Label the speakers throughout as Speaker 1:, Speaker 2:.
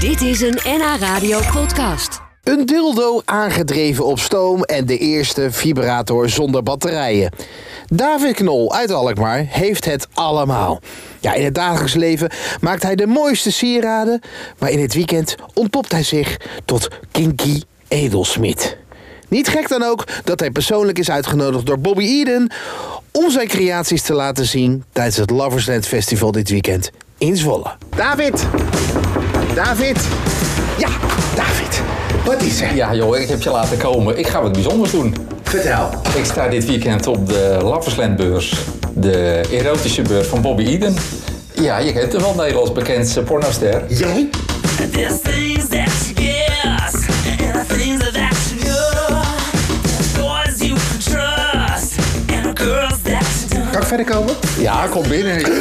Speaker 1: Dit is een NH Radio podcast.
Speaker 2: Een dildo aangedreven op stoom en de eerste vibrator zonder batterijen. David Knol uit Alkmaar heeft het allemaal. Ja, in het dagelijks leven maakt hij de mooiste sieraden, maar in het weekend ontpopt hij zich tot kinky edelsmid. Niet gek dan ook dat hij persoonlijk is uitgenodigd door Bobby Eden om zijn creaties te laten zien tijdens het Loversland Festival dit weekend in Zwolle. David! David! Ja, David! Wat is er?
Speaker 3: Ja joh, ik heb je laten komen. Ik ga wat bijzonders doen.
Speaker 2: Vertel.
Speaker 3: Ik sta dit weekend op de Laverslandbeurs. De erotische beurs van Bobby Eden. Ja, je kent hem wel, Nederlands bekend eh, pornoster.
Speaker 2: Jij?
Speaker 4: There's things that she gives, and the things that she knows. Boys you can trust, and the girls that she does.
Speaker 2: Kan ik verder komen?
Speaker 3: Ja, kom binnen.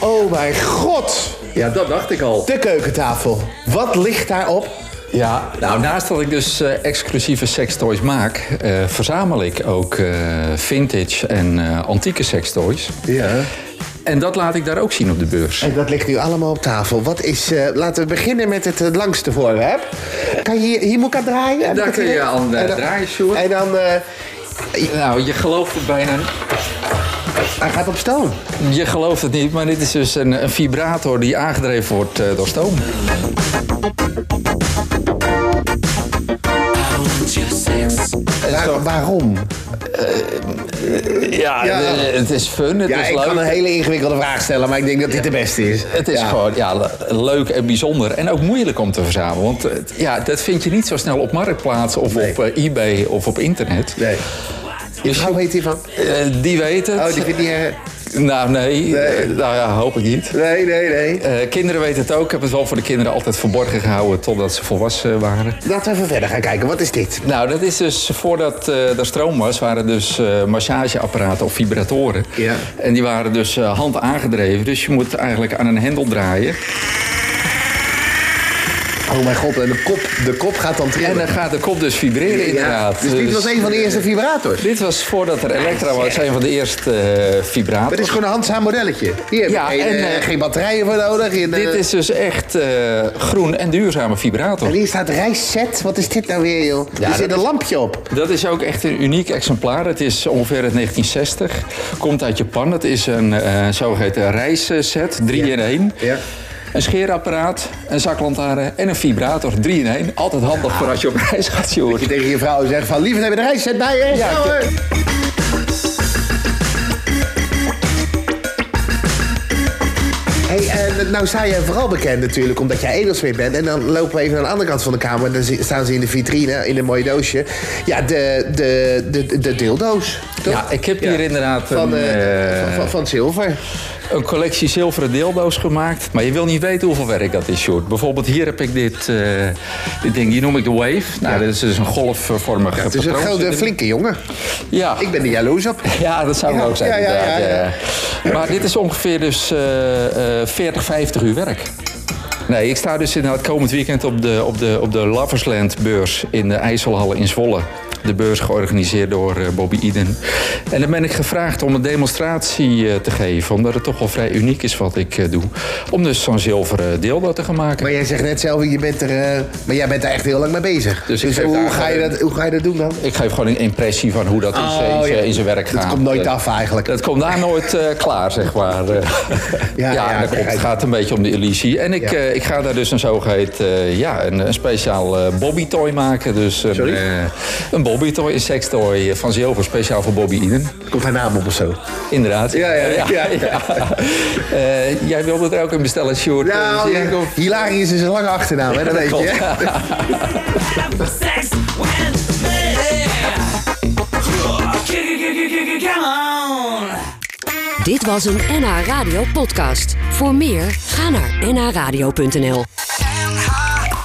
Speaker 2: Oh mijn god!
Speaker 3: Ja, dat dacht ik al.
Speaker 2: De keukentafel. Wat ligt daarop?
Speaker 3: Ja, nou naast dat ik dus eh, exclusieve sextoys maak, eh, verzamel ik ook eh, vintage en eh, antieke sextoys.
Speaker 2: Ja.
Speaker 3: En dat laat ik daar ook zien op de beurs.
Speaker 2: En dat ligt nu allemaal op tafel. Wat is, eh, laten we beginnen met het eh, langste voorwerp. Kan je hier, hier moet ik aan draaien? Heb ik
Speaker 3: Daar
Speaker 2: het
Speaker 3: kun je
Speaker 2: idee?
Speaker 3: aan, eh,
Speaker 2: En dan-
Speaker 3: draaien, Sjoerd.
Speaker 2: En dan, eh,
Speaker 3: Nou, je gelooft het bijna niet.
Speaker 2: hij gaat op stoom.
Speaker 3: Je gelooft het niet, maar dit is dus een, een vibrator die aangedreven wordt eh, door stoom. En
Speaker 2: Waar-
Speaker 3: zo-
Speaker 2: waarom?
Speaker 3: ja,
Speaker 2: Ja.
Speaker 3: eh, het is fun, het
Speaker 2: Ja,
Speaker 3: is
Speaker 2: ik
Speaker 3: leuk.
Speaker 2: kan een hele ingewikkelde vraag stellen, maar ik denk dat dit de beste is.
Speaker 3: Het is
Speaker 2: Ja.
Speaker 3: gewoon ja, le- leuk en bijzonder. En ook moeilijk om te verzamelen. Want eh, ja, dat vind je niet zo snel op Marktplaats of
Speaker 2: Nee.
Speaker 3: op eh, eBay of op internet.
Speaker 2: Nee.
Speaker 3: Dus
Speaker 2: Hoe heet die van?
Speaker 3: eh, die weet het.
Speaker 2: Oh, die vindt die... eh,
Speaker 3: Nou, nee.
Speaker 2: Nee.
Speaker 3: Eh, nou ja, hoop ik niet.
Speaker 2: Nee, nee, nee.
Speaker 3: Eh, kinderen weten het ook. Ik heb het wel voor de kinderen altijd verborgen gehouden totdat ze volwassen waren.
Speaker 2: Laten we even verder gaan kijken. Wat is dit?
Speaker 3: Nou, dat is dus voordat eh er stroom was, waren dus eh, massageapparaten of vibratoren.
Speaker 2: Ja.
Speaker 3: En die waren dus eh, hand aangedreven. Dus je moet eigenlijk aan een hendel draaien.
Speaker 2: Oh mijn god, en de kop, de kop gaat dan trillen.
Speaker 3: En dan gaat de kop dus vibreren, inderdaad.
Speaker 2: Dus dit was een van de eerste vibrators.
Speaker 3: Dit was voordat er elektra was, een van de eerste eh,
Speaker 2: Het is
Speaker 3: vibrators.
Speaker 2: gewoon een handzaam modelletje. Hier heb je
Speaker 3: Ja,
Speaker 2: geen,
Speaker 3: en,
Speaker 2: eh,
Speaker 3: eh,
Speaker 2: geen batterijen voor nodig. En, eh,
Speaker 3: Dit is dus echt eh, groen en duurzame vibrator.
Speaker 2: en hier staat rijstset. Wat is dit nou weer, joh?
Speaker 3: Ja,
Speaker 2: er zit
Speaker 3: dat-
Speaker 2: een lampje op.
Speaker 3: Dat is ook echt een uniek exemplaar. Het is ongeveer uit 1960. Komt uit Japan. Het is een eh zogeheten reisset, 3 in 1.
Speaker 2: Ja.
Speaker 3: Een scheerapparaat, een zaklantaarn en een vibrator, 3 in 1. Altijd handig voor als je op reis gaat,
Speaker 2: Je
Speaker 3: Sjoerd.
Speaker 2: tegen je vrouw zegt van, lieverd, heb je de rijstset bij je?
Speaker 3: Ja,
Speaker 2: Ja, hoor. Hey, en nou sta jij vooral bekend natuurlijk omdat jij edelsmid bent. En dan lopen we even aan de andere kant van de kamer. Dan zi- staan ze in de vitrine, in een mooie doosje. Ja, de, de, de, de dildo's. toch?
Speaker 3: Ja, ik heb hier inderdaad
Speaker 2: Van,
Speaker 3: een,
Speaker 2: eh,
Speaker 3: eh,
Speaker 2: van, van, van zilver.
Speaker 3: Een collectie zilveren dildo's gemaakt. Maar je wil niet weten hoeveel werk dat is, Sjoerd. Bijvoorbeeld hier heb ik dit, eh, dit ding, die noem ik de Wave. Nou, dit is dus een golfvormige
Speaker 2: Het is een
Speaker 3: patroon.
Speaker 2: grote, flinke jongen.
Speaker 3: Ja.
Speaker 2: Ik ben er jaloers op.
Speaker 3: Ja, dat zou ik
Speaker 2: Ja,
Speaker 3: ook zijn.
Speaker 2: ja, ja,
Speaker 3: inderdaad,
Speaker 2: ja, ja.
Speaker 3: ja. Maar dit is ongeveer dus eh, eh, 40, 50 uur werk. Nee, ik sta dus inderdaad komend weekend op de, op de, op de Loversland beurs in de IJsselhallen in Zwolle. De beurs georganiseerd door eh, Bobby Eden. En dan ben ik gevraagd om een demonstratie eh, te geven, omdat het toch wel vrij uniek is wat ik eh, doe. Om dus zo'n zilveren dildo te gaan maken.
Speaker 2: Maar jij zegt net zelf, je bent er, eh, maar jij bent er echt heel lang mee bezig. Dus,
Speaker 3: Dus ik geef
Speaker 2: hoe,
Speaker 3: daar
Speaker 2: ga je
Speaker 3: gewoon-
Speaker 2: dat, hoe ga je dat doen dan?
Speaker 3: Ik geef gewoon een impressie van hoe dat in zijn- in,
Speaker 2: Oh, ja.
Speaker 3: zijn- in zijn werk gaat.
Speaker 2: Dat komt nooit af eigenlijk.
Speaker 3: Dat komt daar nooit eh, klaar, zeg maar. ja,
Speaker 2: Ja,
Speaker 3: ja,
Speaker 2: ja,
Speaker 3: dat klopt.
Speaker 2: kijk.
Speaker 3: Het gaat een beetje om de illusie. En ik,
Speaker 2: Ja.
Speaker 3: eh, ik ga daar dus een zogeheten, eh, ja, een, een speciaal eh, bobbytoy maken. Dus een,
Speaker 2: Sorry?
Speaker 3: eh, een bobbytoy, een sextoy van zilver, speciaal voor Bobby Eden.
Speaker 2: Komt haar naam op of zo?
Speaker 3: Inderdaad.
Speaker 2: Ja, ja, ja, ja.
Speaker 3: Eh, jij wilde er ook een bestellen, Sjoerd.
Speaker 2: Nou,
Speaker 3: Eh, zie ik
Speaker 2: ja,
Speaker 3: of-
Speaker 2: Hilarius is een lange achternaam, hè? dat weet je. hè?
Speaker 4: Have sex when they come on.
Speaker 1: Dit was een NH Radio podcast. Voor meer, ga naar nhradio.nl.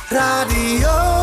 Speaker 5: Radio.